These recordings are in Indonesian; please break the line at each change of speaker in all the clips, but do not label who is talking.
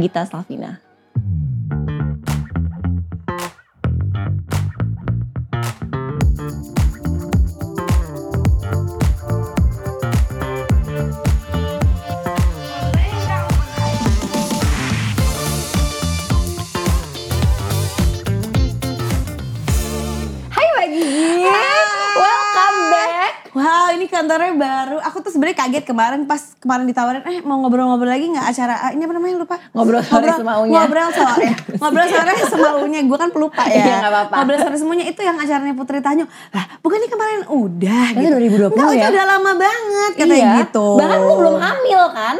Gita Slavina.
Hai lagi. Welcome back. Wow, ini kantornya baru. Aku tuh sebenarnya kaget kemarin pas kemarin ditawarin, eh mau ngobrol-ngobrol lagi nggak acara ah, ini apa namanya lupa?
Ngobrol sore semaunya.
Ngobrol sore, ngobrol sore semaunya. Gue kan pelupa ya.
Iya, nggak apa-apa.
Ngobrol sore semuanya itu yang acaranya Putri Tanyo. Lah, bukan ini kemarin udah? gitu.
Itu 2020
Nggak,
ya? Iya.
itu udah lama banget katanya gitu.
Bahkan lu belum hamil kan?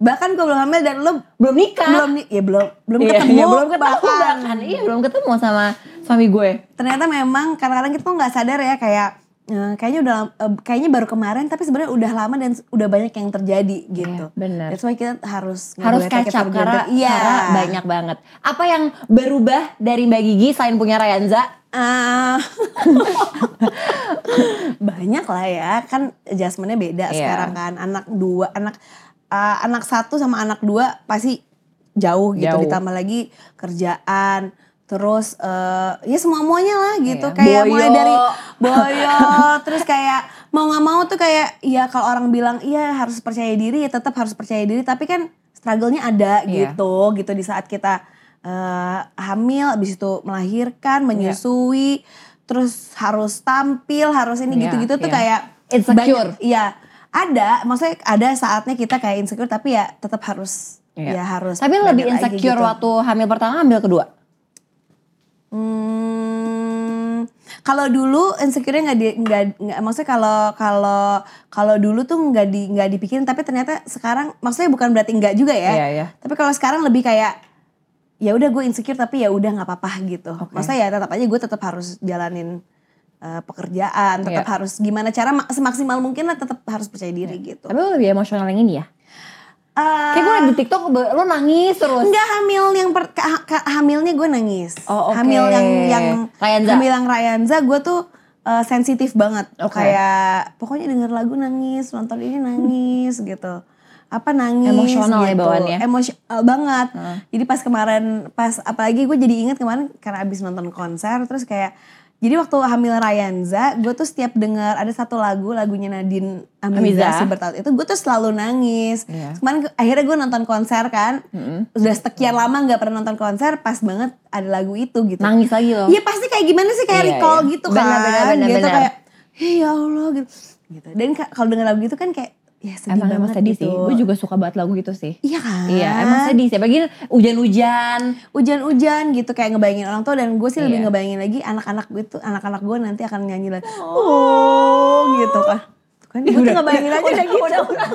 bahkan gue belum hamil dan lo
Belum nikah.
belum ni- ya belum belum
Iya,
ketemu kan. Iya,
iya, belum ketemu
bahkan.
bahkan. Iya, belum ketemu sama suami gue.
ternyata memang kadang-kadang kita tuh nggak sadar ya kayak eh, kayaknya udah lam- eh, kayaknya baru kemarin tapi sebenarnya udah lama dan s- udah banyak yang terjadi gitu.
Iya, benar.
That's why kita harus
Harus
ngeliatnya
catch up
kita
karena,
bergantung. iya.
karena banyak banget. Apa yang berubah dari Mbak Gigi selain punya Rayanza?
Ah. banyak lah ya kan adjustmentnya
Iya.
beda sekarang kan anak dua anak eh, anak satu sama anak dua pasti jauh gitu
Jauh.
ditambah lagi kerjaan terus eh, ya semua muanya lah gitu
Iya.
kayak mulai
Boyo.
dari boyo terus kayak mau nggak mau tuh kayak ya kalau orang bilang iya harus percaya diri ya tetap harus percaya diri tapi kan struggle-nya ada
Iya.
gitu gitu di saat kita eh, hamil abis itu
Iya.
melahirkan menyusui terus harus tampil harus ini
Iya,
gitu-gitu tuh
iya.
kayak
Insecure.
banyak- iya ada maksudnya ada saatnya kita kayak insecure tapi ya tetap harus
Iya.
ya harus
Tapi lu
balik
lebih
lagi
insecure
gitu.
waktu hamil pertama, hamil kedua.
Hmm, kalau dulu insecure-nya nggak di nggak nggak- maksudnya kalau kalau kalau dulu tuh nggak di nggak dipikirin tapi ternyata sekarang maksudnya bukan berarti nggak juga ya.
Iya, iya.
Tapi kalau sekarang lebih kayak ya udah gue insecure tapi ya udah nggak apa-apa gitu. Maksudnya ya tetap aja gue tetap harus jalanin eh, pekerjaan, tetap
Iya.
harus gimana cara ma- semaksimal mungkin lah tetap harus percaya diri gitu.
Tapi lu lebih emosional yang ini ya?
Eh,
Kayak gue liat di TikTok, be- lu nangis terus.
Enggak hamil yang per, ka- ka- hamilnya gue nangis.
Oh, oke.
Hamil yang yang
Rayanza.
hamil yang Rayanza gue tuh eh, sensitif banget.
Oke.
Kayak pokoknya denger lagu nangis, nonton ini nangis gitu. Apa nangis
Emosional ya
gitu.
bawaannya.
Emosional banget. Jadi pas kemarin pas apalagi gue jadi inget kemarin karena abis nonton konser terus kayak jadi waktu hamil Rayanza, gue tuh setiap dengar ada satu lagu, lagunya Nadine
Amiza.
Amiza, Si bertaut itu, gue tuh selalu nangis.
Iya.
Kemarin gue- akhirnya gue nonton konser kan, udah sekian lama nggak pernah nonton konser, pas banget ada lagu itu gitu.
Nangis lagi lo.
Iya pasti kayak gimana sih kayak
Iya,
recall
iya.
gitu
Benar,
kan,
benar, benar,
gitu
benar.
kayak, "Hei, ya Allah gitu. gitu. Dan ka- kalau denger lagu itu kan kayak, ya sedih
Emang
banget
emang sedih
gitu.
sih. Gue juga suka banget lagu gitu sih.
Iya kan?
Iya, emang sedih sih. Apalagi hujan-hujan.
Hujan-hujan gitu kayak ngebayangin orang tua dan gue sih
Iya.
lebih ngebayangin lagi anak-anak gue tuh anak-anak gue nanti akan nyanyi lagi. Oh, gitu kan. Tuh kan gue tuh
Udah,
ngebayangin aja
udah,
udah, gitu.
udah, udah.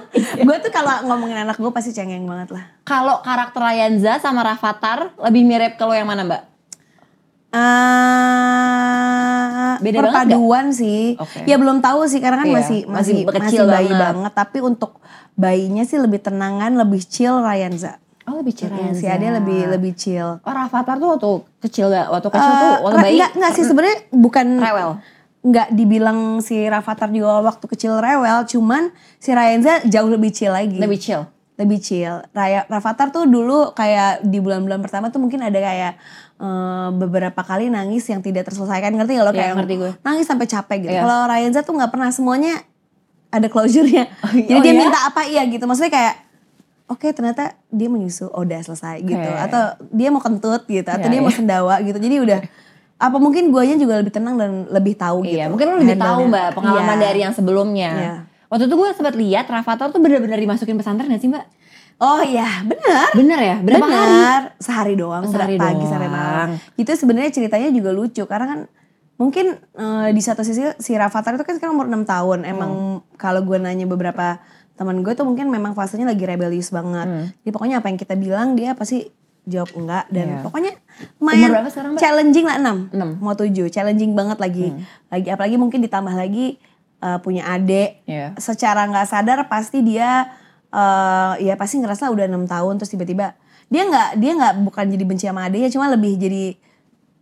gue tuh kalau ngomongin anak gue pasti cengeng banget lah.
Kalau karakter Rayanza sama Rafathar lebih mirip ke lo yang mana mbak?
Ah,
Beda banget
perpaduan sih.
Oke.
Ya belum tahu sih karena kan
Iya,
masih
masih
masih
kecil
masih bayi
banget.
banget. tapi untuk bayinya sih lebih tenangan, lebih chill Ryanza.
Oh lebih chill Rayanza.
Si Ade lebih lebih chill.
Oh Rafathar tuh waktu kecil gak? Waktu kecil tuh
Eh,
waktu
Ra-
bayi
Enggak, enggak sih sebenarnya bukan
Rewel.
Enggak dibilang si Rafathar juga waktu kecil rewel, cuman si Ryanza jauh lebih chill lagi.
lebih chill.
lebih chill. Raya Rafathar tuh dulu kayak di bulan-bulan pertama tuh mungkin ada kayak eh, beberapa kali nangis yang tidak terselesaikan ngerti gak lo
Iya,
kayak
ngerti gue.
nangis sampai capek gitu.
Iya.
Kalau Ryanza tuh nggak pernah semuanya ada closure-nya.
iya.
Jadi dia
Oh, iya?
minta apa iya gitu. Maksudnya kayak oke ternyata dia menyusu oh udah selesai gitu
Oke.
atau dia mau kentut gitu atau
Iya,
dia mau
iya.
sendawa gitu. Jadi udah apa mungkin guanya juga lebih tenang dan lebih tahu gitu.
Iya mungkin lo lebih tahu
handle-nya.
mbak pengalaman
Iya.
dari yang sebelumnya.
Iya.
Waktu itu gue sempat lihat Rafathar tuh bener-bener dimasukin pesantren gak sih mbak?
Oh iya, benar.
Bener ya? Berapa hari?
Iya, Benar, sehari doang,
Oh, sehari
pagi
doang.
sampai malam. Itu sebenarnya ceritanya juga lucu karena kan mungkin eh, di satu sisi si Rafathar itu kan sekarang umur 6 tahun. Emang
Hmm.
kalau gue nanya beberapa teman gue tuh mungkin memang fasenya lagi rebelius banget.
Hmm.
Jadi pokoknya apa yang kita bilang dia pasti jawab enggak dan
Iya.
pokoknya lumayan
berapa sekarang, Mbak?
challenging lah 6.
Enam. Hmm.
Mau 7, challenging banget lagi. Lagi apalagi mungkin ditambah lagi eh, punya adik
Iya.
secara nggak sadar pasti dia eh, ya pasti ngerasa udah enam tahun terus tiba-tiba dia nggak dia nggak bukan jadi benci sama adiknya cuma lebih jadi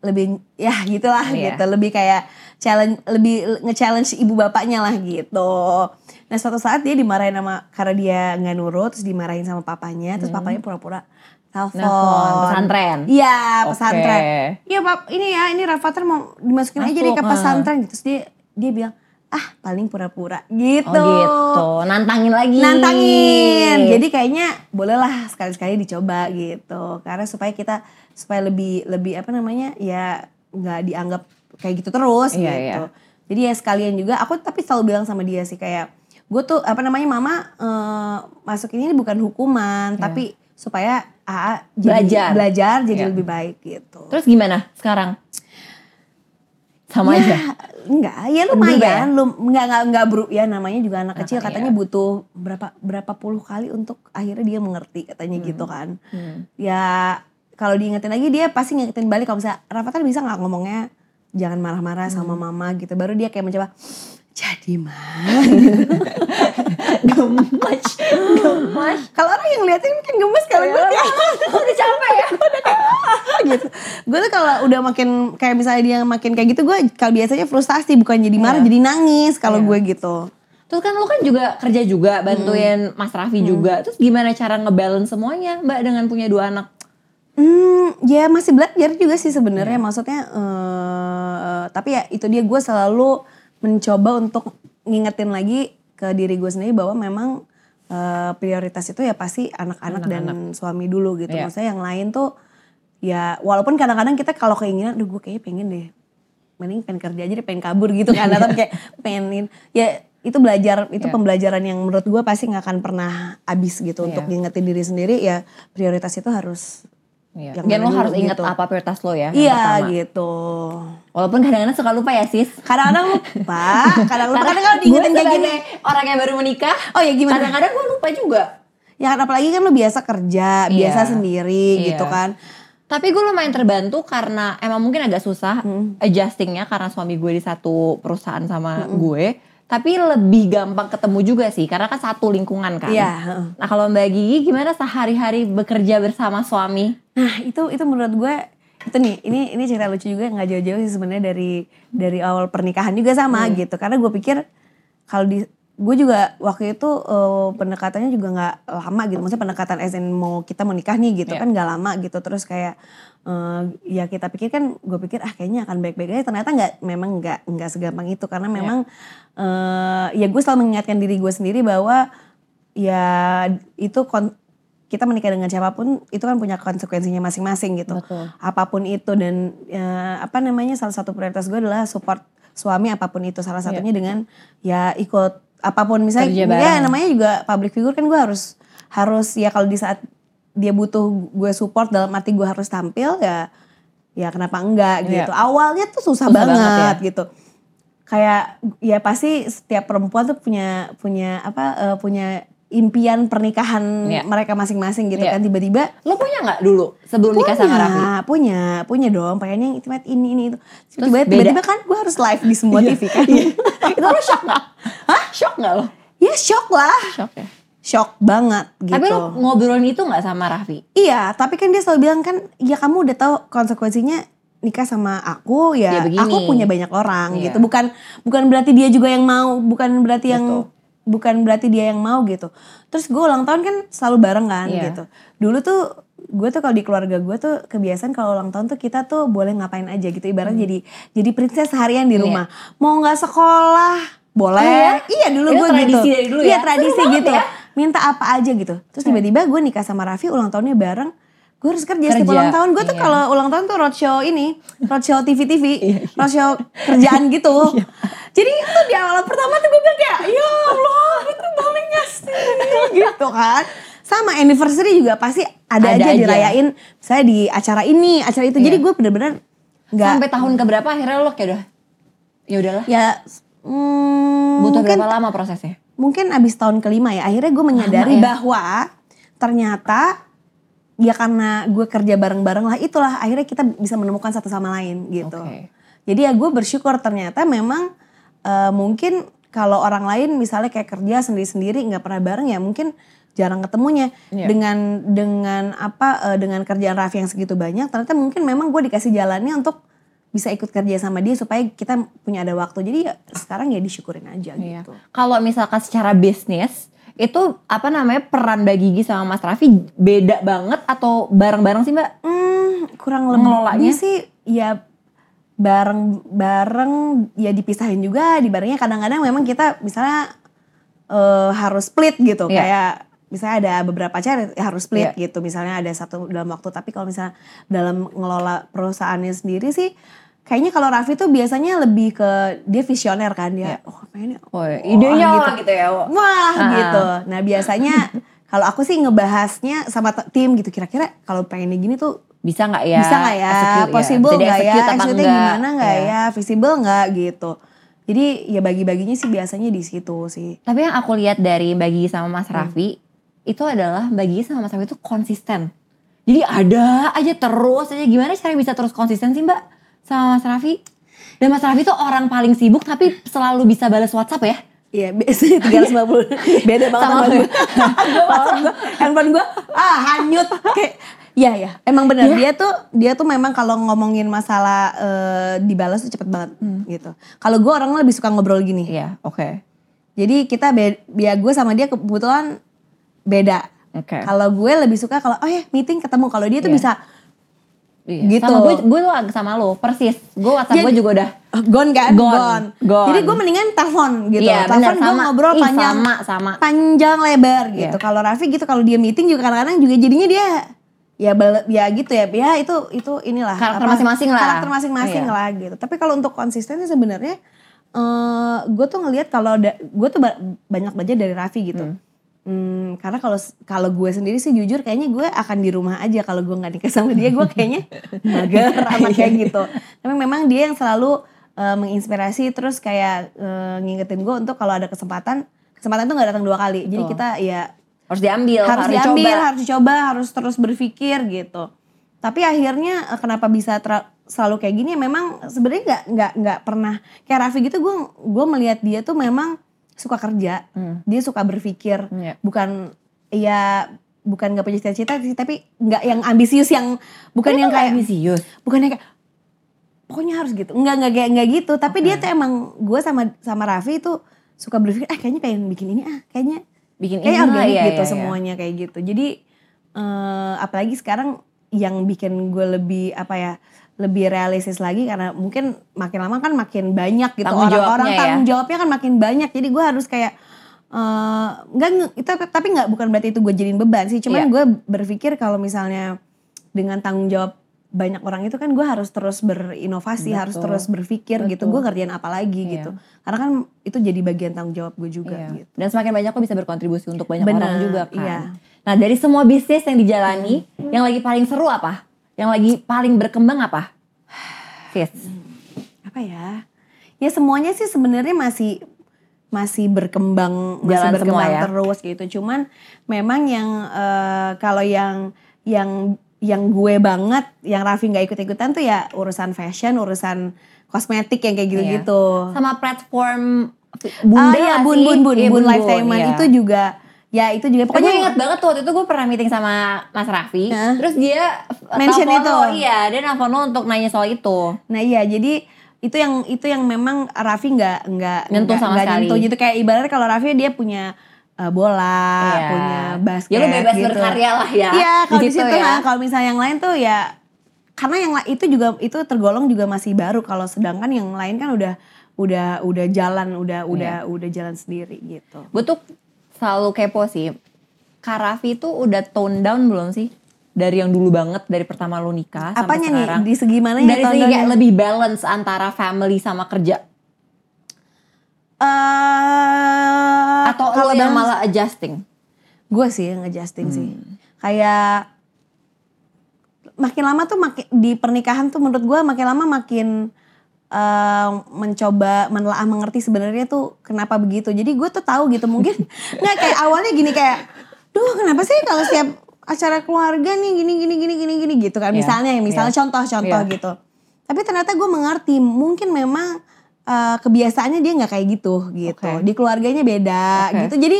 lebih ya gitulah
Iya.
gitu lebih kayak challenge lebih nge-challenge ibu bapaknya lah gitu nah suatu saat dia dimarahin sama karena dia nggak nurut terus dimarahin sama papanya terus papanya pura-pura
Hmm.
Telepon.
Nelfon, pesantren.
Iya,
Oke.
pesantren. Iya, Pak, ini ya, ini Rafathar mau dimasukin aja deh ke
Masuk, ah.
pesantren gitu. Terus dia dia bilang, "Ah, paling pura-pura." Gitu.
Oh gitu, nantangin lagi.
Nantangin. Jadi kayaknya bolehlah sekali-sekali dicoba gitu. Karena supaya kita supaya lebih lebih apa namanya? Ya nggak dianggap kayak gitu terus
Iya,
gitu. Jadi ya sekalian juga aku tapi selalu bilang sama dia sih kayak gue tuh apa namanya mama eh, masuk ini bukan hukuman tapi supaya AA jadi-
Belajar.
belajar jadi
Iya.
lebih baik gitu.
Terus gimana sekarang? Sama aja.
Ya, enggak, ya
Berubah ya?
lumayan, lum, enggak enggak enggak bro, ya namanya juga anak kecil
Anak,
katanya butuh berapa berapa puluh kali untuk akhirnya dia mengerti katanya gitu kan.
Hmm.
Ya kalau diingetin lagi dia pasti ngingetin balik kalau misalnya Rafathar bisa nggak ngomongnya jangan marah-marah sama
Hmm.
mama gitu. Baru dia kayak mencoba jadi mah.
Gemes, gemes.
kalau orang yang ngeliatin mungkin gemes kan kalau gue
Ya, udah capek ya.
gitu. Gue tuh kalau udah makin kayak misalnya dia makin kayak gitu gue kalau biasanya frustasi bukan jadi
Iya.
marah jadi nangis kalau gue gitu.
Terus kan lu kan juga kerja juga bantuin Mas Raffi juga. Terus gimana cara ngebalance semuanya Mbak dengan punya dua anak?
Hmm, ya masih belajar juga sih sebenarnya.
Iya.
Maksudnya, eh tapi ya itu dia gue selalu mencoba untuk ngingetin lagi ke diri gue sendiri bahwa memang eh, prioritas itu ya pasti anak-anak dan suami dulu gitu.
Iya.
Maksudnya yang lain tuh ya walaupun kadang-kadang kita kalau keinginan, aduh gue kayaknya pengen deh, mending pengen kerja aja deh, pengen kabur gitu kan, atau kayak pengenin. Ya itu belajar, itu
Iya.
pembelajaran yang menurut gue pasti nggak akan pernah habis gitu untuk
Iya.
ngingetin diri sendiri. Ya prioritas itu harus
Iya.
Yang
Mungkin lo
dulu
harus ingat
gitu.
apa prioritas lo ya. yang
Iya
pertama.
gitu.
Walaupun kadang-kadang suka lupa ya sis.
Kadang-kadang lupa,
Nah,
kadang lupa. Kadang kalau
Gue
diingetin kayak gini.
sebagai orang yang baru menikah.
Oh ya gimana?
Kadang-kadang gue lupa juga.
Ya kan apalagi kan lu biasa kerja, biasa
Iya.
sendiri
Iya.
gitu kan.
Tapi gue lumayan terbantu karena emang mungkin agak susah adjustingnya karena suami gue di satu perusahaan sama gue. Tapi lebih gampang ketemu juga sih karena kan satu lingkungan kan.
Iya, heeh.
Nah kalau Mbak Gigi gimana sehari-hari bekerja bersama suami?
Nah, itu itu menurut gue itu nih, ini ini cerita lucu juga nggak jauh-jauh sih sebenarnya dari dari awal pernikahan juga sama gitu. Karena gue pikir kalau di gue juga waktu itu eh, pendekatannya juga nggak lama gitu. Maksudnya pendekatan SN mau kita mau nikah nih gitu
Iya.
kan nggak lama gitu. Terus kayak eh, ya kita pikir kan gue pikir ah kayaknya akan baik-baik aja. Ternyata nggak memang nggak nggak segampang itu karena memang eh, ya gue selalu mengingatkan diri gue sendiri bahwa ya itu kon- kita menikah dengan siapapun itu kan punya konsekuensinya masing-masing gitu.
Betul.
Apapun itu dan eh, apa namanya salah satu prioritas gue adalah support suami apapun itu salah satunya dengan ya ikut apapun misalnya
Kerja
ya
bareng.
namanya juga public figure kan gue harus harus ya kalau di saat dia butuh gue support dalam arti gue harus tampil ya ya kenapa enggak
Iya.
gitu. Awalnya tuh
Susah
susah, banget,
banget ya.
gitu. Kayak ya pasti setiap perempuan tuh punya punya apa eh, punya impian pernikahan
Iya.
mereka masing-masing gitu
Iya.
kan tiba-tiba
Lo punya nggak dulu sebelum nikah sama Raffi?
punya, punya, punya dong. Pengennya yang intimate ini, ini, itu.
Terus
Tiba-tiba,
beda.
tiba-tiba kan gue harus live di semua TV kan.
itu lo shock gak? Hah? Shock gak lo?
ya shock lah.
Shock ya.
Shock banget gitu.
Tapi lo ngobrolin itu gak sama Raffi?
Iya, tapi kan dia selalu bilang kan, ya kamu udah tahu konsekuensinya nikah sama aku
Ya,
ya,
begini."
aku punya banyak orang
Iya.
gitu. Bukan bukan berarti dia juga yang mau, bukan berarti yang
Betul.
bukan berarti dia yang mau gitu. Terus gue ulang tahun kan selalu bareng kan
Iya.
gitu. Dulu tuh gue tuh kalau di keluarga gue tuh kebiasaan kalau ulang tahun tuh kita tuh boleh ngapain aja gitu. Ibarat
Hmm.
jadi jadi princess harian di
Iya.
rumah. Mau nggak sekolah boleh.
Oh, ya?
Iya dulu
Itu
gue
tradisi
gitu.
dari dulu
iya
ya?
tradisi
Seru banget
gitu
ya.
minta apa aja gitu terus tiba-tiba gue nikah sama Raffi ulang tahunnya bareng gue harus kerja, setiap
Kerja,
ulang tahun gue tuh
iya.
kalau ulang tahun tuh roadshow ini roadshow TV TV roadshow kerjaan gitu
Iya.
jadi itu di awal pertama tuh gue bilang kayak ya Allah itu bolehnya sih gitu kan sama anniversary juga pasti
Ada
ada, aja,
aja. Iya.
dirayain saya di acara ini acara itu jadi gue bener-bener nggak
Sampai tahun keberapa akhirnya lo kayak udah ya udahlah.
ya hmm,
Butuh
mungkin
berapa lama prosesnya?
mungkin abis tahun kelima ya akhirnya gue menyadari bahwa ternyata ya karena gue kerja bareng-bareng lah itulah akhirnya kita bisa menemukan satu sama lain gitu
Oke.
jadi ya gue bersyukur ternyata memang eh, mungkin kalau orang lain misalnya kayak kerja sendiri-sendiri nggak pernah bareng ya mungkin jarang ketemunya
Iya.
dengan dengan apa eh, dengan kerjaan Raffi yang segitu banyak ternyata mungkin memang gue dikasih jalannya untuk bisa ikut kerja sama dia supaya kita punya ada waktu jadi ya sekarang ya disyukurin aja
Iya.
gitu
Kalau misalkan secara bisnis Itu apa namanya peran Mbak Gigi sama Mas Raffi beda banget atau bareng-bareng sih Mbak?
Hmm, kurang
Ngelolanya?
lebih sih ya bareng bareng ya dipisahin juga di barengnya kadang-kadang memang kita misalnya eh, harus split gitu
Iya.
kayak misalnya ada beberapa acara ya harus split
Iya.
gitu misalnya ada satu dalam waktu tapi kalau misalnya dalam ngelola perusahaannya sendiri sih kayaknya kalau Raffi tuh biasanya lebih ke dia visioner kan dia oh pengen
Oh, idenya
gitu.
wah, gitu ya. wah.
Wah
Ah.
gitu. Nah biasanya kalau aku sih ngebahasnya sama t- tim gitu. Kira-kira kalau pengennya gini tuh
Bisa nggak ya?
bisa nggak ya?
execute
Possible
Bisa
nggak ya?
di-execute apa Iya.
Execute-nya
nggak?
gimana nggak ya? Visible nggak gitu. Jadi ya bagi-baginya sih biasanya di situ sih.
Tapi yang aku lihat dari Mbak Gigi sama Mas Raffi itu adalah Mbak Gigi sama Mas Raffi itu konsisten. Jadi ada aja terus aja gimana cara bisa terus konsisten sih Mbak sama Mas Raffi? Dan Mas Raffi tuh orang paling sibuk tapi selalu bisa balas WhatsApp ya.
Iya, biasanya 350. Beda banget
Sama
sama gue. Gue WhatsApp gue, handphone gue ah hanyut kayak Iya ya, emang benar dia tuh dia tuh memang kalau ngomongin masalah eh, dibalas tuh cepet banget gitu. Kalau gue orangnya lebih suka ngobrol gini.
Iya, oke.
Jadi kita be- ya gue sama dia kebetulan beda.
Oke.
Kalau gue lebih suka kalau oh ya meeting ketemu. Kalau dia tuh
Iya.
bisa
Iya.
Gitu.
Sama gue gue tuh ag- sama lo persis. Gue WhatsApp
Jadi-
gue juga udah
"Oh, gone kan?
Gone, gone.
Jadi gue mendingan telepon gitu.
Iya,
telepon
benar,
gue
sama.
ngobrol
Ih,
panjang
sama, sama. Iya.
panjang lebar gitu. Kalau Raffi gitu kalau dia meeting juga kadang-kadang juga jadinya dia ya bal- ya gitu ya. Ya itu itu inilah
Karakter
apa,
masing-masing lah.
Karakter masing-masing
Iya.
lah gitu. Tapi kalau untuk konsisten sih sebenarnya eh gue tuh ngelihat kalau da- gue tuh ba- banyak belajar dari Raffi gitu. Hmm, karena kalau kalau gue sendiri sih jujur kayaknya gue akan di rumah aja kalau gue nggak nikah sama dia gue kayaknya mager amat
Iya.
kayak gitu. Tapi memang dia yang selalu eh, menginspirasi terus kayak eh, ngingetin gue untuk kalau ada kesempatan kesempatan tuh nggak datang dua kali. Jadi kita ya
harus diambil,
harus, diambil,
dicoba.
harus dicoba, harus terus berpikir gitu. Tapi akhirnya eh, kenapa bisa tra- selalu kayak gini? Memang sebenarnya nggak nggak nggak pernah kayak Raffi gitu. Gue gue melihat dia tuh memang suka kerja, dia suka berpikir,
Iya.
bukan ya bukan nggak punya cita-cita sih, tapi nggak yang ambisius yang bukan yang Iya, kayak
ambisius.
bukannya kayak pokoknya harus gitu nggak nggak kayak nggak gitu tapi dia tuh emang gue sama sama Raffi itu suka berpikir ah kayaknya pengen bikin ini ah kayaknya
Bikin
kayak
inilah,
organik
iya,
gitu
iya, iya.
semuanya kayak gitu jadi eh, apalagi sekarang yang bikin gue lebih apa ya lebih realistis lagi karena mungkin makin lama kan makin banyak gitu
Tanggung
orang-orang
jawabnya ya.
tanggung jawabnya kan makin banyak jadi gue harus kayak eh, nggak nge- itu tapi nggak bukan berarti itu gue jadiin beban sih cuman
Iya.
gue berpikir kalau misalnya dengan tanggung jawab banyak orang itu kan gue harus terus berinovasi harus
Betul.
terus berpikir
Betul.
gitu gue kerjaan apa lagi
Iya.
gitu karena kan itu jadi bagian tanggung jawab gue juga
Iya.
gitu
Dan semakin banyak lo bisa berkontribusi untuk banyak
Benar,
orang juga kan.
iya.
Nah dari semua bisnis yang dijalani, yang lagi paling seru apa? Yang lagi paling berkembang apa? Sis.
apa ya ya semuanya sih sebenarnya masih masih berkembang masih
Jalan semua
berkembang
ya.
terus gitu cuman memang yang eh, kalau yang yang yang gue banget yang Raffi nggak ikut ikutan tuh ya urusan fashion urusan kosmetik yang kayak gitu gitu
Sama platform Iya. Bunda
Ah, ya,
nggak
bun
sih?
bun bun
Iya,
bun lifetime
iya.
itu juga ya itu juga
Pokoknya
pokoknya
ingat banget tuh waktu itu gue pernah meeting sama Mas Raffi
Hah?
Terus dia
Mention
nelfon
itu.
lo, Iya dia nelfon lo untuk nanya soal itu
Nah iya jadi itu yang itu yang memang Raffi nggak nggak
Nyentuh
nggak-
sama
nggak
sekali.
nyentuh gitu kayak ibaratnya kalau Raffi dia punya eh, bola,
Iya.
punya basket
Ya lu bebas
gitu.
berkarya lah ya
Iya kalau di situ
ya.
nah, kalau misalnya yang lain tuh ya karena yang la- itu juga itu tergolong juga masih baru kalau sedangkan yang lain kan udah udah udah jalan
Iya.
udah udah udah jalan sendiri gitu.
Gue tuh selalu kepo sih. Kak Raffi tuh udah tone down belum sih? Dari yang dulu banget, dari pertama lo nikah sampai
Apanya nih
sekarang.
di segi mana
dari segi ya kayak lebih balance antara family sama kerja. Atau lo
eh, Ah, kalau
yang
balance-
malah adjusting.
gue sih yang adjusting sih
Hmm.
kayak makin lama tuh makin di pernikahan tuh menurut gue makin lama makin eh, mencoba menelaah mengerti sebenarnya tuh kenapa begitu jadi gue tuh tahu gitu mungkin nggak kayak awalnya gini kayak duh kenapa sih kalau setiap acara keluarga nih gini gini gini gini gini gitu kan
Iya,
misalnya misalnya contoh-contoh
Iya.
gitu tapi ternyata gue mengerti mungkin memang eh, kebiasaannya dia nggak kayak gitu gitu
Oke.
di keluarganya beda
Oke.
gitu jadi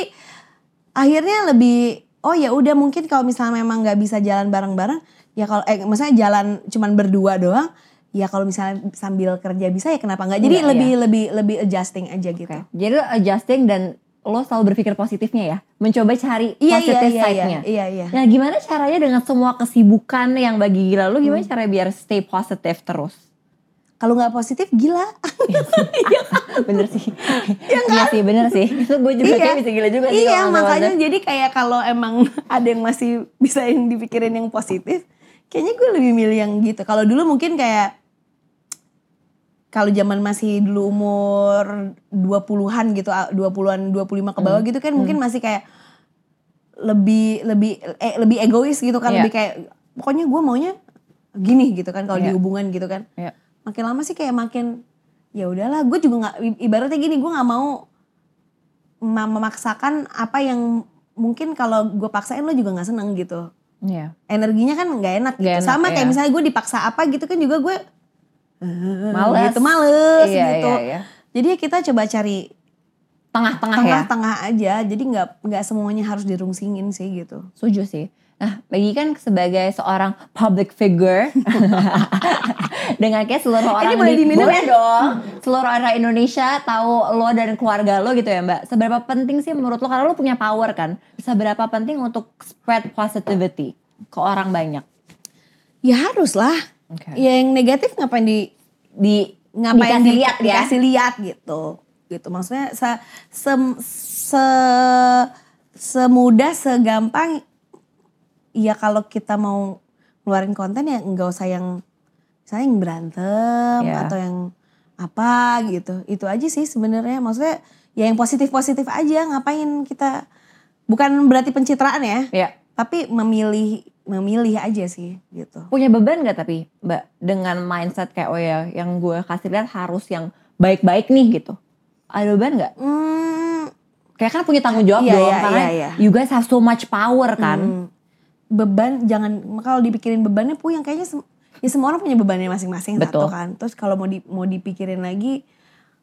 akhirnya lebih oh ya udah mungkin kalau misalnya memang nggak bisa jalan bareng-bareng ya kalau eh maksudnya jalan cuman berdua doang ya kalau misalnya sambil kerja bisa ya kenapa nggak jadi
Iya,
lebih lebih lebih adjusting aja gitu
Oke. Jadi lo adjusting dan lo selalu berpikir positifnya ya, mencoba cari
Iya iya
positive
iya iya
side-nya.
iya iya.
Nah, gimana caranya dengan semua kesibukan yang bagi gila lu
Hmm.
gimana cara biar stay positive terus?
Kalau nggak positif gila.
bener sih. Iya sih, bener sih. Itu gue juga kayak bisa gila juga sih.
Ya kan? Iya,
kalau nggak
makanya jadi kayak kalau emang ada yang masih bisa yang dipikirin yang positif, kayaknya gue lebih milih yang gitu. Kalau dulu mungkin kayak kalau zaman masih dulu umur 20-an gitu, ah, 20-an, 25 ke bawah
Hmm.
gitu kan mungkin masih kayak lebih lebih eh, lebih egois gitu kan,
Iya.
lebih kayak pokoknya gue maunya gini gitu kan kalau
Iya.
di hubungan gitu kan.
Iya.
Makin lama sih kayak makin ya udahlah, gue juga nggak i- ibaratnya gini, gue nggak mau mem- memaksakan apa yang mungkin kalau gue paksain lo juga nggak seneng gitu
Iya.
energinya kan nggak enak gitu
Nggak enak,
sama kayak
iya.
misalnya gue dipaksa apa gitu kan juga gue eh,
Males.
gitu males
Iya,
gitu
iya, iya.
jadi kita coba cari
Tengah-tengah ya.
tengah-tengah aja jadi nggak nggak semuanya harus dirungsingin sih gitu
Setuju sih. Nah, bagi kan sebagai seorang public figure dengan kayak seluruh orang
Ini boleh
di-
diminum
boleh
ya?
dong. Seluruh orang Indonesia tahu lo dan keluarga lo gitu ya, Mbak. Seberapa penting sih menurut lo karena lo punya power kan? Seberapa penting untuk spread positivity ke orang banyak?
ya harus lah
Oke.
ya yang negatif ngapain di
Di
ngapain
Dikasih
di-
lihat ya.
dikasih lihat gitu gitu maksudnya se, se- se- semudah segampang ya kalau kita mau ngeluarin konten ya nggak usah yang misalnya yang berantem
Ya.
atau yang apa gitu itu aja sih sebenarnya maksudnya ya yang positif positif aja ngapain kita bukan berarti pencitraan ya
ya
tapi memilih memilih aja sih gitu
punya beban nggak tapi Mbak dengan mindset kayak oh ya yang gue kasih lihat harus yang baik-baik nih gitu. Ada beban nggak?
Hmm,
Kayak kan punya tanggung jawab
Iya,
dong
iya,
karena
iya, iya.
you guys have so much power kan.
Hmm. beban jangan kalau dipikirin bebannya puyeng kayaknya sem- ya semua orang punya bebannya masing-masing
Betul.
satu kan terus kalau mau di, mau dipikirin lagi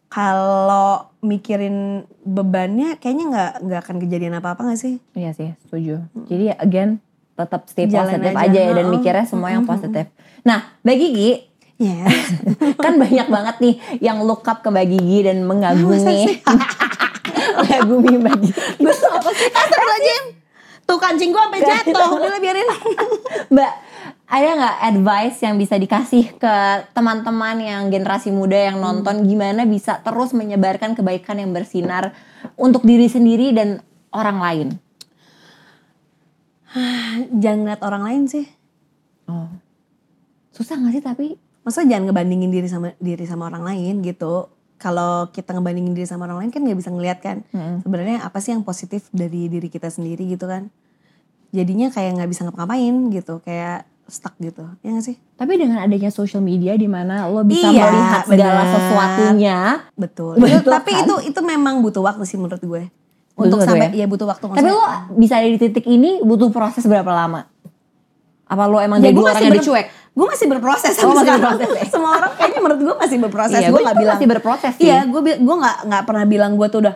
kalau mikirin bebannya kayaknya nggak nggak akan kejadian apa-apa nggak sih
Iya sih, setuju. Jadi again tetap stay
Jalan
positif
aja,
aja, ya dan
heeh.
mikirnya semua yang positif. Nah, Mbak Gigi
ya
kan banyak banget nih yang look up ke Mbak Gigi dan mengagumi. mengagumi Mbak Gigi. Ah,
gue tuh apa sih Astagfirullahaladzim tuh kancing gue sampai jatuh udah lah, biarin
Mbak, ada nggak advice yang bisa dikasih ke teman-teman yang generasi muda yang
Hmm.
nonton gimana bisa terus menyebarkan kebaikan yang bersinar untuk diri sendiri dan orang lain?
jangan lihat orang lain sih
Oh. Susah nggak sih tapi?
maksudnya jangan ngebandingin diri sama diri sama orang lain gitu kalau kita ngebandingin diri sama orang lain kan nggak bisa ngeliat kan
Mm-mm.
sebenarnya apa sih yang positif dari diri kita sendiri gitu kan jadinya kayak nggak bisa ngapa-ngapain gitu kayak stuck gitu ya nggak sih
Tapi dengan adanya social media di mana lo bisa
Iya,
melihat segala
benar.
sesuatunya.
betul,
Betul
Itu- Iya, tapi
kan?
itu itu memang butuh waktu sih menurut gue
Butuh
untuk
waktu
sampai ya? butuh waktu
Tapi lo
maksudnya.
bisa ada di titik ini butuh proses berapa lama? Apa lo emang
Ya,
jadi
gue
orang
masih
yang
ber-
dicuek?
gue masih berproses
Oh, masih
sekarang.
berproses, ya?
semua orang kayaknya menurut gue masih berproses
Iya,
gue
gue
nggak
juga
bilang
masih berproses sih.
iya gue bi- gue nggak nggak pernah bilang gue tuh udah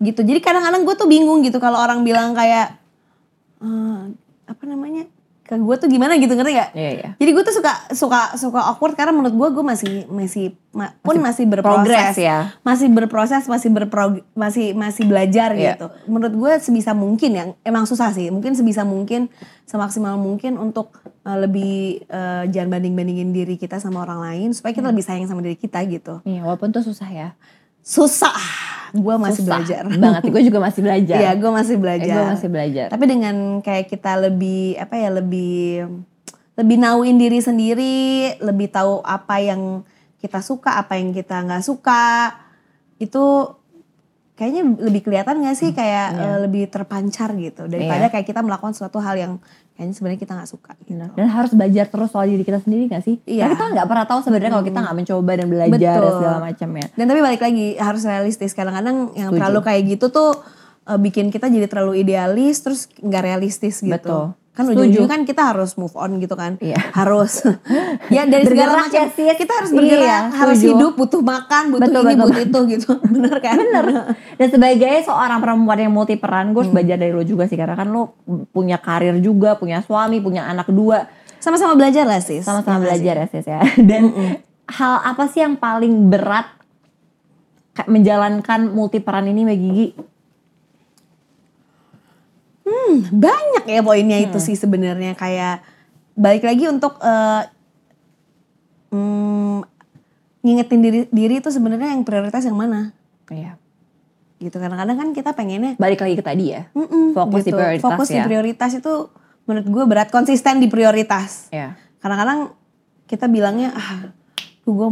gitu jadi kadang-kadang gue tuh bingung gitu kalau orang bilang kayak eh, apa namanya ke gue tuh gimana gitu ngerti gak
Iya, iya.
Jadi gue tuh suka suka suka awkward karena menurut gue gue masih masih ma- pun masih berproses
progress ya.
masih berproses masih berprog masih masih belajar
Iya.
gitu. Menurut gue sebisa mungkin ya emang susah sih mungkin sebisa mungkin semaksimal mungkin untuk uh, lebih uh, jangan banding bandingin diri kita sama orang lain supaya
Hmm.
kita lebih sayang sama diri kita gitu.
Iya, walaupun tuh susah ya.
Susah, gue masih
Susah
belajar.
Banget, gue juga masih belajar.
Iya gue
Eh,
masih belajar.
gue masih belajar.
Tapi dengan kayak kita lebih apa ya lebih lebih nauin diri sendiri, lebih tahu apa yang kita suka, apa yang kita nggak suka, itu kayaknya lebih kelihatan nggak sih kayak eh, lebih terpancar gitu daripada kayak kita melakukan suatu hal yang kayaknya sebenarnya kita nggak suka. Gitu.
Benar. Dan harus belajar terus soal diri kita sendiri gak sih?
Iya.
Karena kita nggak pernah tahu sebenarnya kalau kita nggak mencoba dan belajar dan
Betul.
segala macam ya.
Dan tapi balik lagi harus realistis. Kadang-kadang yang
Setuju.
terlalu kayak gitu tuh eh, bikin kita jadi terlalu idealis terus nggak realistis gitu.
Betul.
Kan
Setuju.
ujung-ujungnya kan kita harus move on gitu kan.
Iya.
Harus ya dari segala
Bergerak
macam
ya, Sis.
kita harus bergerak,
Iya,
harus
setuju.
hidup, butuh makan, butuh
Betul,
ini,
betul.
butuh itu gitu. Bener kan? Bener.
Dan sebagai seorang perempuan yang multi peran, gue harus belajar dari lo juga sih. Karena kan lo punya karir juga, punya suami, punya anak dua.
Sama-sama belajar lah sis.
Sama-sama
Iya nggak sih?
belajar ya sis ya. Dan hal apa sih yang paling berat ka- menjalankan multi peran ini Mbak Gigi?
Hmm, banyak ya poinnya itu
Hmm.
sih sebenarnya kayak balik lagi untuk eh, hmm, ngingetin diri diri itu sebenarnya yang prioritas yang mana
Iya.
gitu kadang-kadang kan kita pengennya
Balik lagi ke tadi ya.
mm-mm, gitu.
Fokus di prioritas
fokus di
ya.
prioritas itu menurut gue berat konsisten di prioritas
Iya.
kadang-kadang kita bilangnya ah gue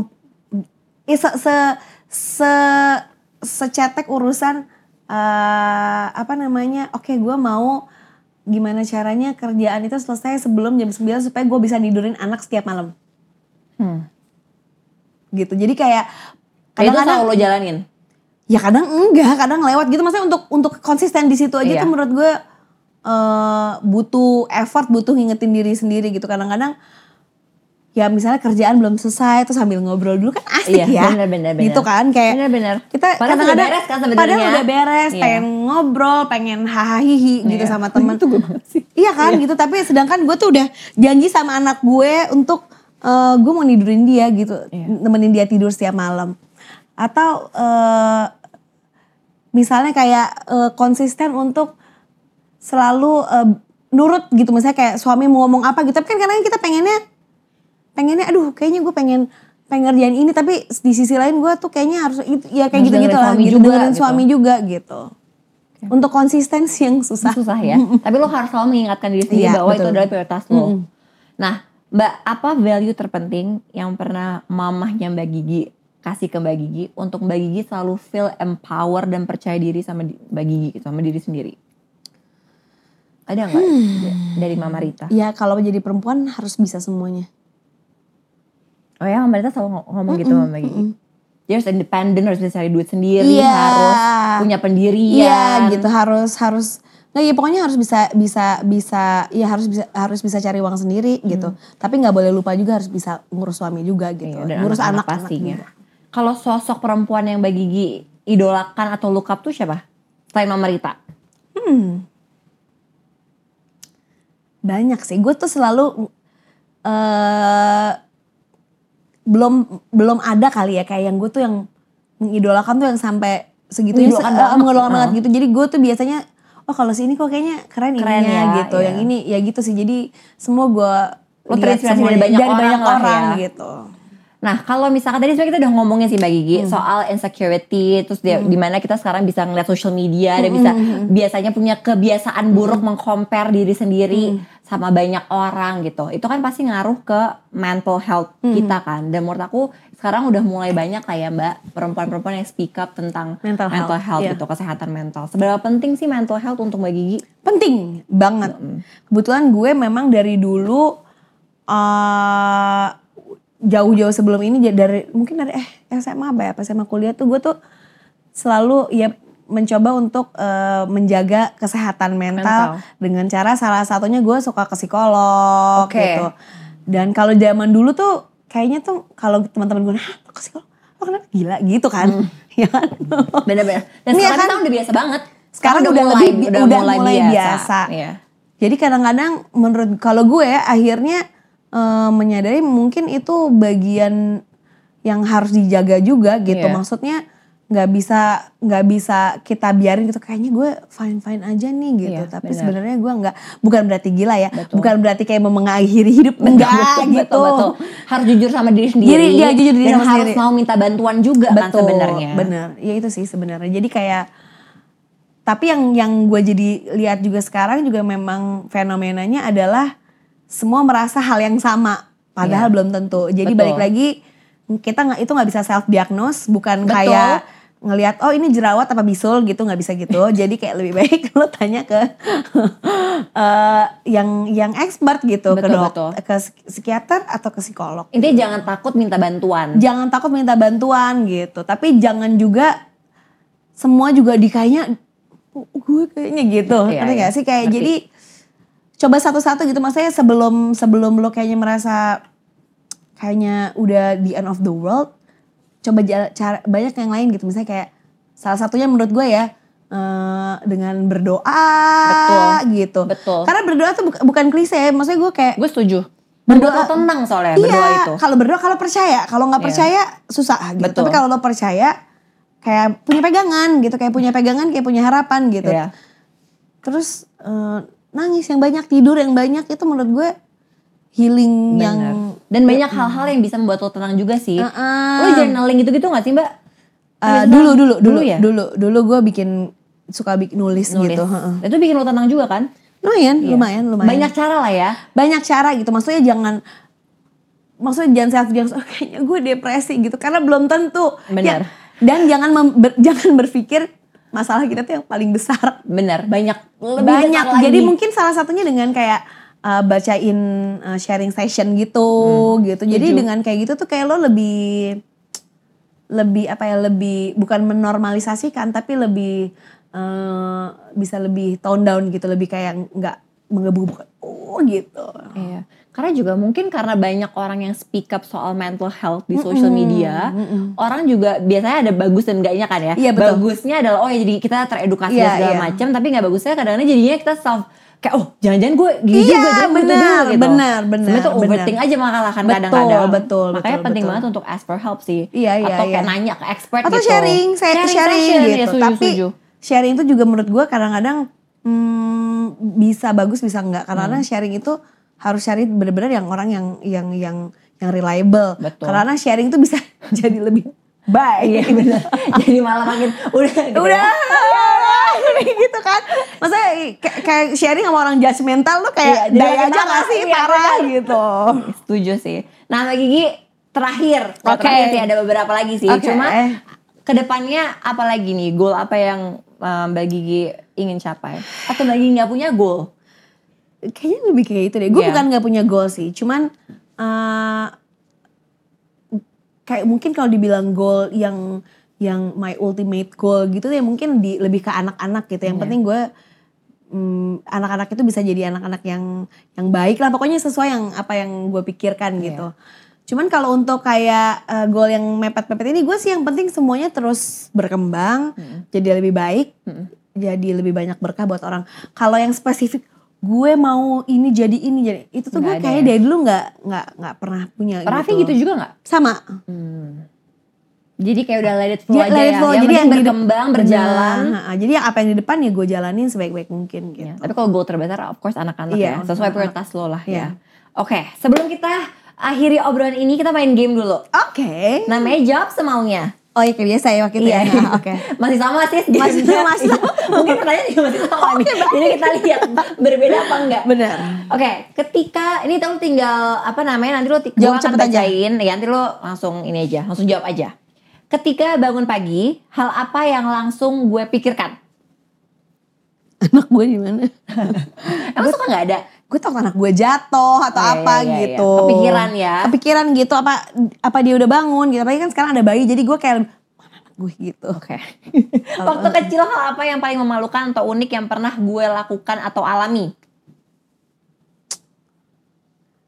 eh, se se se secetek urusan eh, apa namanya oke gue mau gimana caranya kerjaan itu selesai sebelum jam 9 supaya gue bisa tidurin anak setiap malam
Hmm.
gitu jadi kayak
Itu selalu
kadang-kadang
lo jalanin.
ya kadang enggak kadang lewat gitu maksudnya untuk untuk konsisten di situ aja
Iya.
tuh menurut gue eh, butuh effort butuh ngingetin diri sendiri gitu kadang-kadang ya misalnya kerjaan belum selesai terus sambil ngobrol dulu kan asik
Iya,
ya
bener, bener, bener.
gitu kan kayak
Bener-bener.
kita
Padahal udah
kadang-kadang-
beres kan sebenarnya.
padahal udah beres
Iya.
pengen ngobrol pengen hahaha gitu
Iya.
sama temen
Itu gue banget sih.
Iya kan gitu tapi sedangkan gue tuh udah janji sama anak gue untuk eh, gue mau nidurin dia gitu
Iya.
nemenin dia tidur setiap malam atau eh, misalnya kayak eh, konsisten untuk selalu eh, nurut gitu misalnya kayak suami mau ngomong apa gitu tapi kan kadang kita pengennya pengennya aduh kayaknya gue pengen pengen ngerjain ini tapi di sisi lain gue tuh kayaknya harus itu- ya kayak
Harus
gitu
dengerin
gitu lah
suami
gitu
juga,
dengerin
gitu.
suami juga gitu untuk konsistensi yang susah
susah ya. Tapi lo harus selalu mengingatkan diri sendiri
Iya,
bahwa itu
betul.
adalah prioritas lo. Nah, Mbak, apa value terpenting yang pernah mamahnya Mbak Gigi kasih ke Mbak Gigi untuk Mbak Gigi selalu feel empower dan percaya diri sama di- Mbak Gigi gitu, sama diri sendiri? Ada nggak da- dari Mama Rita?
Ya kalau jadi perempuan harus bisa semuanya.
Oh ya, Mama Rita selalu ngo- ngomong gitu sama Mbak Gigi. Dia harus independen, harus bisa cari duit sendiri,
Iya.
harus punya pendirian.
Iya gitu harus harus nggak ya pokoknya harus bisa bisa bisa ya harus bisa harus bisa cari uang sendiri gitu. Tapi nggak boleh lupa juga harus bisa ngurus suami juga gitu.
Hmm. Iya, dan
ngurus
anak-anak
anak-anak
pastinya.
juga.
Kalau sosok perempuan yang Mbak Gigi idolakan atau look up tuh siapa? Selain Mama Rita.
Banyak sih. Gue tuh selalu eh belum belum ada kali ya kayak yang gue tuh yang mengidolakan tuh yang sampai segitunya
Mengidolakan
se-
banget.
eh, mengidolakan
Heeh.
banget gitu. Jadi gue tuh biasanya oh kalau si ini kok kayaknya keren,
Keren
ininya
ya,
gitu.
iya.
Yang ini ya gitu sih. Jadi semua gue
Lo terinspirasi dari banyak orang lah ya.
gitu.
Nah, kalau misalkan tadi sebenarnya kita udah ngomongin sih Mbak Gigi
Hmm.
soal insecurity, terus dia, dimana kita sekarang bisa ngeliat social media
Hmm,
dan bisa biasanya punya kebiasaan buruk mengcompare diri sendiri
Hmm.
sama banyak orang gitu. Itu kan pasti ngaruh ke mental health
Hmm.
kita kan. Dan menurut aku sekarang udah mulai banyak lah ya Mbak perempuan-perempuan yang speak up tentang
Mental health, iya.
gitu, kesehatan mental. Seberapa penting sih mental health untuk Mbak Gigi?
Penting banget. Kebetulan gue memang dari dulu eh jauh-jauh sebelum ini ja- dari mungkin dari eh SMA apa ya, pas SMA kuliah tuh gue tuh selalu ya mencoba untuk eh, menjaga kesehatan mental,
Mental.
dengan cara salah satunya gue suka ke psikolog
Oke.
gitu. Dan kalau zaman dulu tuh kayaknya tuh kalau teman-teman gue "Hah, lo ke psikolog, lo kenapa gila gitu kan? ya kan?
Bener-bener. Dan
Iya
sekarang
kan?
kita udah biasa banget.
Sekarang udah
mulai,
lebih- udah mulai biasa.
Iya.
Jadi kadang-kadang menurut kalau gue akhirnya eh, menyadari mungkin itu bagian yang harus dijaga juga gitu.
Iya.
Maksudnya nggak bisa nggak bisa kita biarin gitu. Kayaknya gue fine fine aja nih gitu.
Iya,
Tapi
benar.
sebenarnya gue nggak bukan berarti gila ya.
Betul.
Bukan berarti kayak mau mengakhiri hidup enggak
Betul,
gitu.
betul. Harus jujur sama diri sendiri.
Diri- iya, jujur diri
dan
sama
harus
sendiri.
mau minta bantuan juga kan
Betul,
sebenarnya.
Bener, ya itu sih sebenarnya. Jadi kayak tapi yang yang gue jadi lihat juga sekarang juga memang fenomenanya adalah semua merasa hal yang sama, padahal belum tentu.
Iya.
Jadi
Betul.
balik lagi kita nggak itu nggak bisa self diagnose, bukan
Betul.
kayak ngelihat oh ini jerawat apa bisul gitu nggak bisa gitu. jadi kayak lebih baik lo tanya ke eh, yang yang expert gitu ke
Betul,
dok,
betul.
ke psikiater atau ke psikolog
Intinya jangan takut minta bantuan.
jangan takut minta bantuan gitu tapi jangan juga semua juga di kayaknya "Oh, gue kayaknya gitu
Iya,
ngerti gak
iya.
sih kayak
Ngerti.
jadi coba satu-satu gitu maksudnya sebelum sebelum lo kayaknya merasa kayaknya udah the end of the world coba ja- cara banyak yang lain gitu misalnya kayak salah satunya menurut gue ya eh, dengan berdoa
Betul.
gitu
Betul.
karena berdoa tuh buka- bukan klise ya maksudnya gue kayak
Gue setuju. Berdoa tuh tenang soalnya berdoa
Iya,
itu.
kalau berdoa kalau percaya, kalau nggak
Iya.
percaya susah gitu.
Betul.
Tapi kalau lo percaya kayak punya pegangan gitu, kayak punya pegangan, kayak punya harapan gitu.
Iya.
terus eh, nangis yang banyak tidur yang banyak itu menurut gue healing yang eh, Iya.
Dan banyak hal-hal yang bisa membuat lo tenang juga sih.
Heeh.
Lo journaling gitu-gitu gak sih mbak?
Eh,
Tapi
dulu
tenang.
dulu dulu
Dulu ya?
dulu dulu gue bikin suka bikin nulis,
Nulis.
gitu heeh.
Itu bikin lo tenang juga kan?
lumayan lumayan lumayan
Banyak cara lah ya.
banyak cara gitu maksudnya jangan maksudnya jangan self diagnosis "Oh, kayaknya gue depresi gitu karena belum tentu
Benar.
Ya, dan jangan mem- ber- jangan berpikir masalah kita tuh yang paling besar
Bener, banyak. Lebih
banyak
besar lagi.
jadi mungkin salah satunya dengan kayak uh, bacain uh, sharing session gitu gitu jadi
Hmm. setuju.
dengan kayak gitu tuh kayak lo lebih lebih apa ya lebih bukan menormalisasikan tapi lebih uh, bisa lebih tone down gitu lebih kayak nggak menggebu-gebu oh gitu
Iya. Karena juga mungkin karena banyak orang yang speak up soal mental health di social
Hmm,
media, orang juga biasanya ada bagus dan enggaknya kan ya.
Iya, betul.
Bagusnya adalah oh ya jadi kita teredukasi
Iya,
dan segala
iya.
macam, tapi nggak bagusnya kadang-kadang jadinya kita self kayak oh jangan-jangan gue gini
Iya,
juga jangan gitu
benar,
dulu," gitu.
benar, benar,
Sebenarnya tuh
benar.
overthink aja malah kan
Betul,
kadang-kadang.
betul,
Makanya
betul,
penting
betul.
banget untuk ask for help sih.
Iya, iya,
Atau kayak
iya.
nanya ke expert
atau
gitu.
sharing saya sharing,
session, ya,
gitu
setuju,
tapi
setuju.
sharing itu juga menurut gue kadang-kadang hmm, bisa bagus bisa enggak karena
Hmm.
kadang sharing itu harus sharing bener-bener yang orang yang yang yang yang reliable
Betul.
karena sharing itu bisa jadi lebih
Iya
baik
benar. jadi malah makin udah gitu
udah
ya.
gitu kan maksudnya kayak- kayak sharing sama orang judgmental tuh kayak
Iya,
daya
jangan
aja nggak
ketawa,
sih
iya,
parah gitu
Setuju sih. Nah, Mbak Gigi terakhir, Nah,
Oke.
terakhir sih ada beberapa lagi sih.
Oke. eh.
Cuma kedepannya apa lagi nih goal apa yang eh, Mbak Gigi ingin capai? Atau Mbak Gigi nggak punya goal?
kayaknya lebih kayak gitu deh. Gue
Iya.
bukan nggak punya goal sih, cuman eh, kayak mungkin kalau dibilang goal yang yang my ultimate goal gitu ya mungkin di lebih ke anak-anak gitu. Yang penting gue mm, anak-anak itu bisa jadi anak-anak yang yang baik lah. Pokoknya sesuai yang apa yang gue
Iya.
pikirkan gitu. Cuman kalau untuk kayak eh, goal yang mepet-mepet ini gue sih yang penting semuanya terus berkembang, jadi lebih baik, jadi lebih banyak berkah buat orang. Kalau yang spesifik gue mau ini jadi ini jadi itu
Nggak
tuh gue
ada
kayaknya dari dulu nggak nggak nggak pernah punya
Raffi gitu juga nggak?
sama
Jadi kayak udah let it flow aja
let it
ya.
flow.
Yang
jadi
penting
di de-
berkembang,
Benar.
berjalan.
Ha, nah, jadi yang apa yang di depan ya gue jalanin sebaik-baik mungkin gitu
Ya, Tapi kalau goal terbesar of course anak-anak
Iya,
ya. Sesuai
anak-anak.
prioritas lo lah
Iya.
ya. Oke, sebelum kita akhiri obrolan ini kita main game dulu.
oke
Namanya jawab semaunya.
oh ya kayak biasa ya waktu itu
Iya,
ya Nah, oke
masih sama sih.
Masih sama, masih sama.
Mungkin pertanyaan juga masih sama nih. Jadi kita lihat berbeda apa enggak.
benar
Oke, ketika ini tuh tinggal apa namanya nanti lo ti- gua
Jawab
akan
cepet aja.
bacain, ya nanti lo langsung ini aja, langsung jawab aja. Ketika bangun pagi, hal apa yang langsung gue pikirkan?
anak gue di mana
Emang suka nggak ada?
gue takut anak gue jatuh atau
Iya,
apa
iya, iya, iya.
gitu
Kepikiran ya.
kepikiran gitu apa apa dia udah bangun gitu apalagi kan sekarang ada bayi jadi gue kayak mana anak gue gitu
Oke. Waktu kecil hal apa yang paling memalukan atau unik yang pernah gue lakukan atau alami?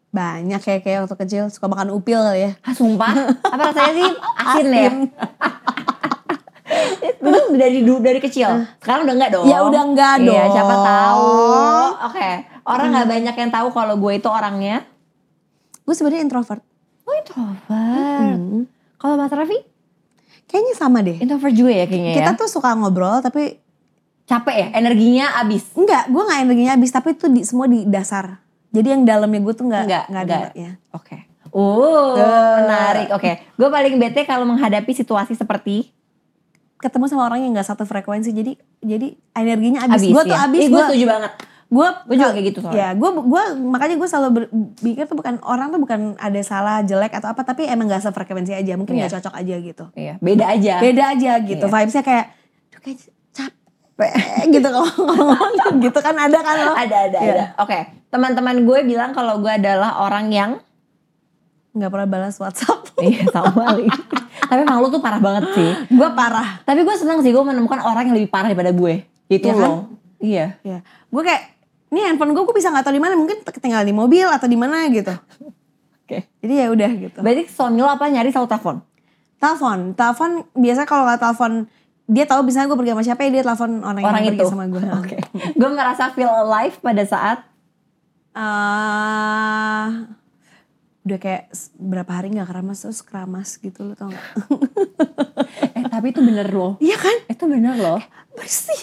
banyak kayak kayak waktu kecil suka makan upil kali ya
Hah, sumpah? Apa rasanya sih asin, ya? Dulu dari du- dari kecil. Sekarang udah enggak dong.
Ya udah nggak
Iya,
dong.
siapa tahu. Iya. Oke. Orang nggak banyak yang tahu kalau gue itu orangnya.
gue sebenarnya introvert
Oh, introvert. Hmm. Kalau Mas Raffi,
kayaknya sama deh
introvert juga ya kayaknya
kita
ya.
tuh suka ngobrol tapi
Capek ya, energinya habis.
enggak gue nggak energinya habis tapi itu di, semua di dasar jadi yang dalamnya gue tuh nggak
Nggak,
nggak ada
nggak.
ya
Oke. Oh,
Eh.
menarik. Oke. Gue paling bete kalau menghadapi situasi seperti
ketemu sama orang yang nggak satu frekuensi jadi jadi energinya habis
habis
gue tuh
ya.
habis
Ih, gue
gue
setuju banget.
gue
Gue juga kayak gitu soalnya.
ya gue gue makanya gue selalu berpikir tuh bukan orang tuh bukan ada salah jelek atau apa tapi emang nggak sefrekuensi aja mungkin nggak
Iya.
cocok aja gitu
Iya, beda aja.
beda aja gitu
Iya.
vibesnya kayak Duh, kayak capek gitu kalau ngomong gitu kan ada kan lo
Ada, ada,
Iya.
ada. Oke. Teman-teman gue bilang kalau gue adalah orang yang
nggak pernah balas WhatsApp
Iya sama lagi. Tapi emang lu tuh parah banget sih.
gue parah
Tapi gue senang sih gue menemukan orang yang lebih parah daripada gue. Itu
Iya kan?
loh. Iya.
ya gue kayak ini handphone gue gue bisa nggak tahu di mana mungkin ketinggalan di mobil atau di mana gitu
Oke.
jadi ya udah gitu
Berarti suami lo apa nyari selalu telepon?
telepon telepon biasa kalau nggak telepon dia tahu misalnya gue pergi sama siapa ya dia telepon orang,
Orang
yang
itu.
pergi sama gue
Oke. Gue merasa feel alive pada saat
Eh, udah kayak s- berapa hari nggak keramas terus keramas gitu lo tau gak?
eh tapi itu bener loh.
Iya kan?
Itu bener loh.
Bersih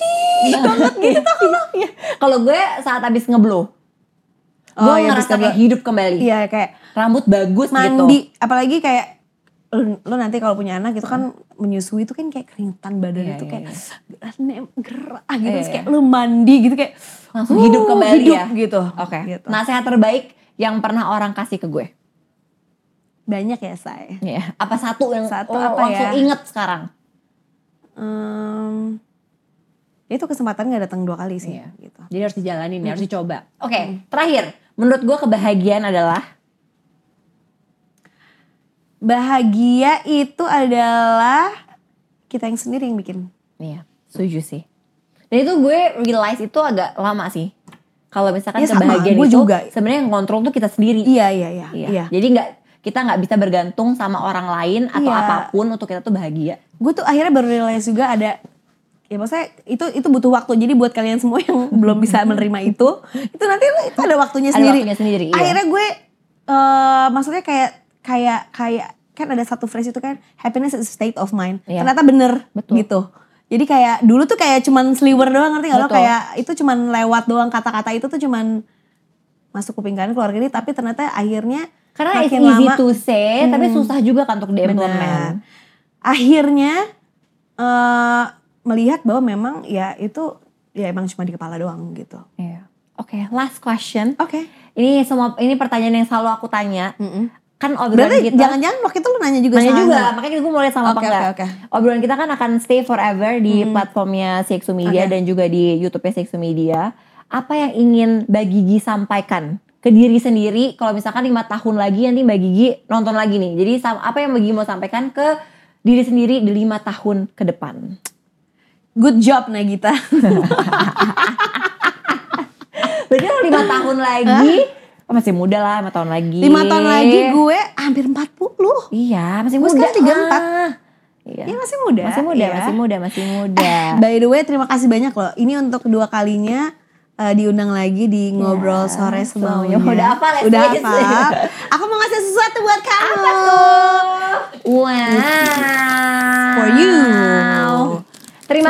banget gitu tau gak? Iya.
Kalau gue saat habis ngeblow, gue
Oh, iya, habis
ngerasa kayak
ngeblow.
hidup kembali.
Iya kayak
Rambut bagus gitu.
mandi apalagi kayak lu, lu nanti kalau punya anak itu kan menyusui itu kan kayak keringetan badannya
Iya,
tuh
iya,
kayak "Nem, gerah gitu
Iya,
Terus
iya.
kayak lu mandi gitu kayak
Langsung
"Wuh,
hidup kembali
hidup,"
ya?
gitu.
Oke.
Gitu.
Nasihat terbaik yang pernah orang kasih ke gue.
Banyak ya say.
Iya. Apa satu yang
Satu
lo
apa
langsung
ya?
inget sekarang?
Em, ya itu kesempatan gak datang dua kali sih
Iya.
gitu.
Jadi harus dijalanin, ya, harus dicoba. Oke, terakhir. Menurut gue kebahagiaan adalah
Bahagia itu adalah kita yang sendiri yang bikin.
Iya, setuju sih. Dan itu gue realize itu agak lama sih. Kalau misalkan
Iya, sama.
kebahagiaan
Gue
itu
juga.
sebenarnya yang kontrol tuh kita sendiri.
Iya iya iya.
Iya.
iya.
Jadi nggak kita nggak bisa bergantung sama orang lain atau
Iya.
apapun untuk kita tuh bahagia.
gue tuh akhirnya baru realize juga ada ya maksudnya itu itu butuh waktu jadi buat kalian semua yang belum bisa menerima itu itu nanti lu- itu ada waktunya
Ada
sendiri
waktunya sendiri, iya.
akhirnya gue eh maksudnya kayak kayak kayak kan ada satu phrase itu kan happiness is a state of mind
Iya.
ternyata bener
Betul.
gitu jadi kayak dulu tuh kayak cuman sliver doang ngerti gak lo
Betul.
kayak itu cuman lewat doang kata-kata itu tuh cuman masuk kuping kanan keluar kiri tapi ternyata akhirnya
Karena it's
makin
easy
lama- Hmm.
to say, tapi susah juga kan untuk
Benar.
diimplement.
Akhirnya eh, melihat bahwa memang ya itu ya emang cuma di kepala doang gitu.
Iya. Oke, last question.
Oke.
Ini semua ini pertanyaan yang selalu aku tanya. Kan obrolan
Berarti
kita
jangan-jangan waktu itu lu nanya juga
Nanya
sama
juga,
Angga.
makanya gue mau lihat sama apa
Oke,
enggak.
oke, oke.
Obrolan kita kan akan stay forever di platformnya Sexu Media
Oke.
dan juga di YouTube-nya Sexu Media. Apa yang ingin Mbak Gigi sampaikan ke diri sendiri kalau misalkan lima tahun lagi nanti Mbak Gigi nonton lagi nih. Jadi sam- apa yang Mbak Gigi mau sampaikan ke diri sendiri di lima tahun ke depan?
Good job Nagita.
Berarti kalau lima tahun lagi oh, masih muda lah, lima tahun lagi.
5 tahun lagi kan gue hampir 40.
Iya, masih
Gue
muda.
sekarang 34.
ah. Iya.
Ya masih muda.
Masih muda,
ya.
masih muda, masih muda.
By the way, terima kasih banyak loh. Ini untuk kedua kalinya eh, diundang lagi di ngobrol sore sebelumnya.
sebelumnya. Iya. Udah hafal ya,
Udah
Sis?
hafal. Aku mau ngasih sesuatu buat kamu.
Wow.
For you.
Terima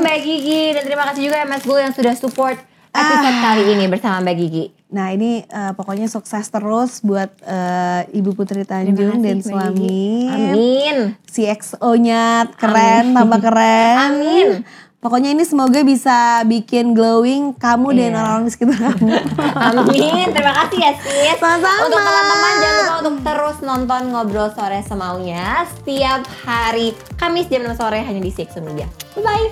kasih Mbak Gigi dan terima kasih juga MS Go yang sudah support episode
Ah.
kali ini bersama Mbak Gigi.
Nah ini eh, pokoknya sukses terus buat eh, Ibu Putri
Terima kasih,
Tanjung dan
Mbak
suami.
Gigi. Amin.
CXO-nya keren, tambah keren.
Amin.
Pokoknya ini semoga bisa bikin glowing kamu dan
Iya.
orang-orang di sekitar kamu.
Amin. Terima kasih ya Sis.
Sama-sama.
Untuk teman-teman jangan lupa untuk terus nonton ngobrol sore semaunya setiap hari Kamis jam 6 sore hanya di Six Media. Bye bye.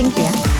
Thank you ya.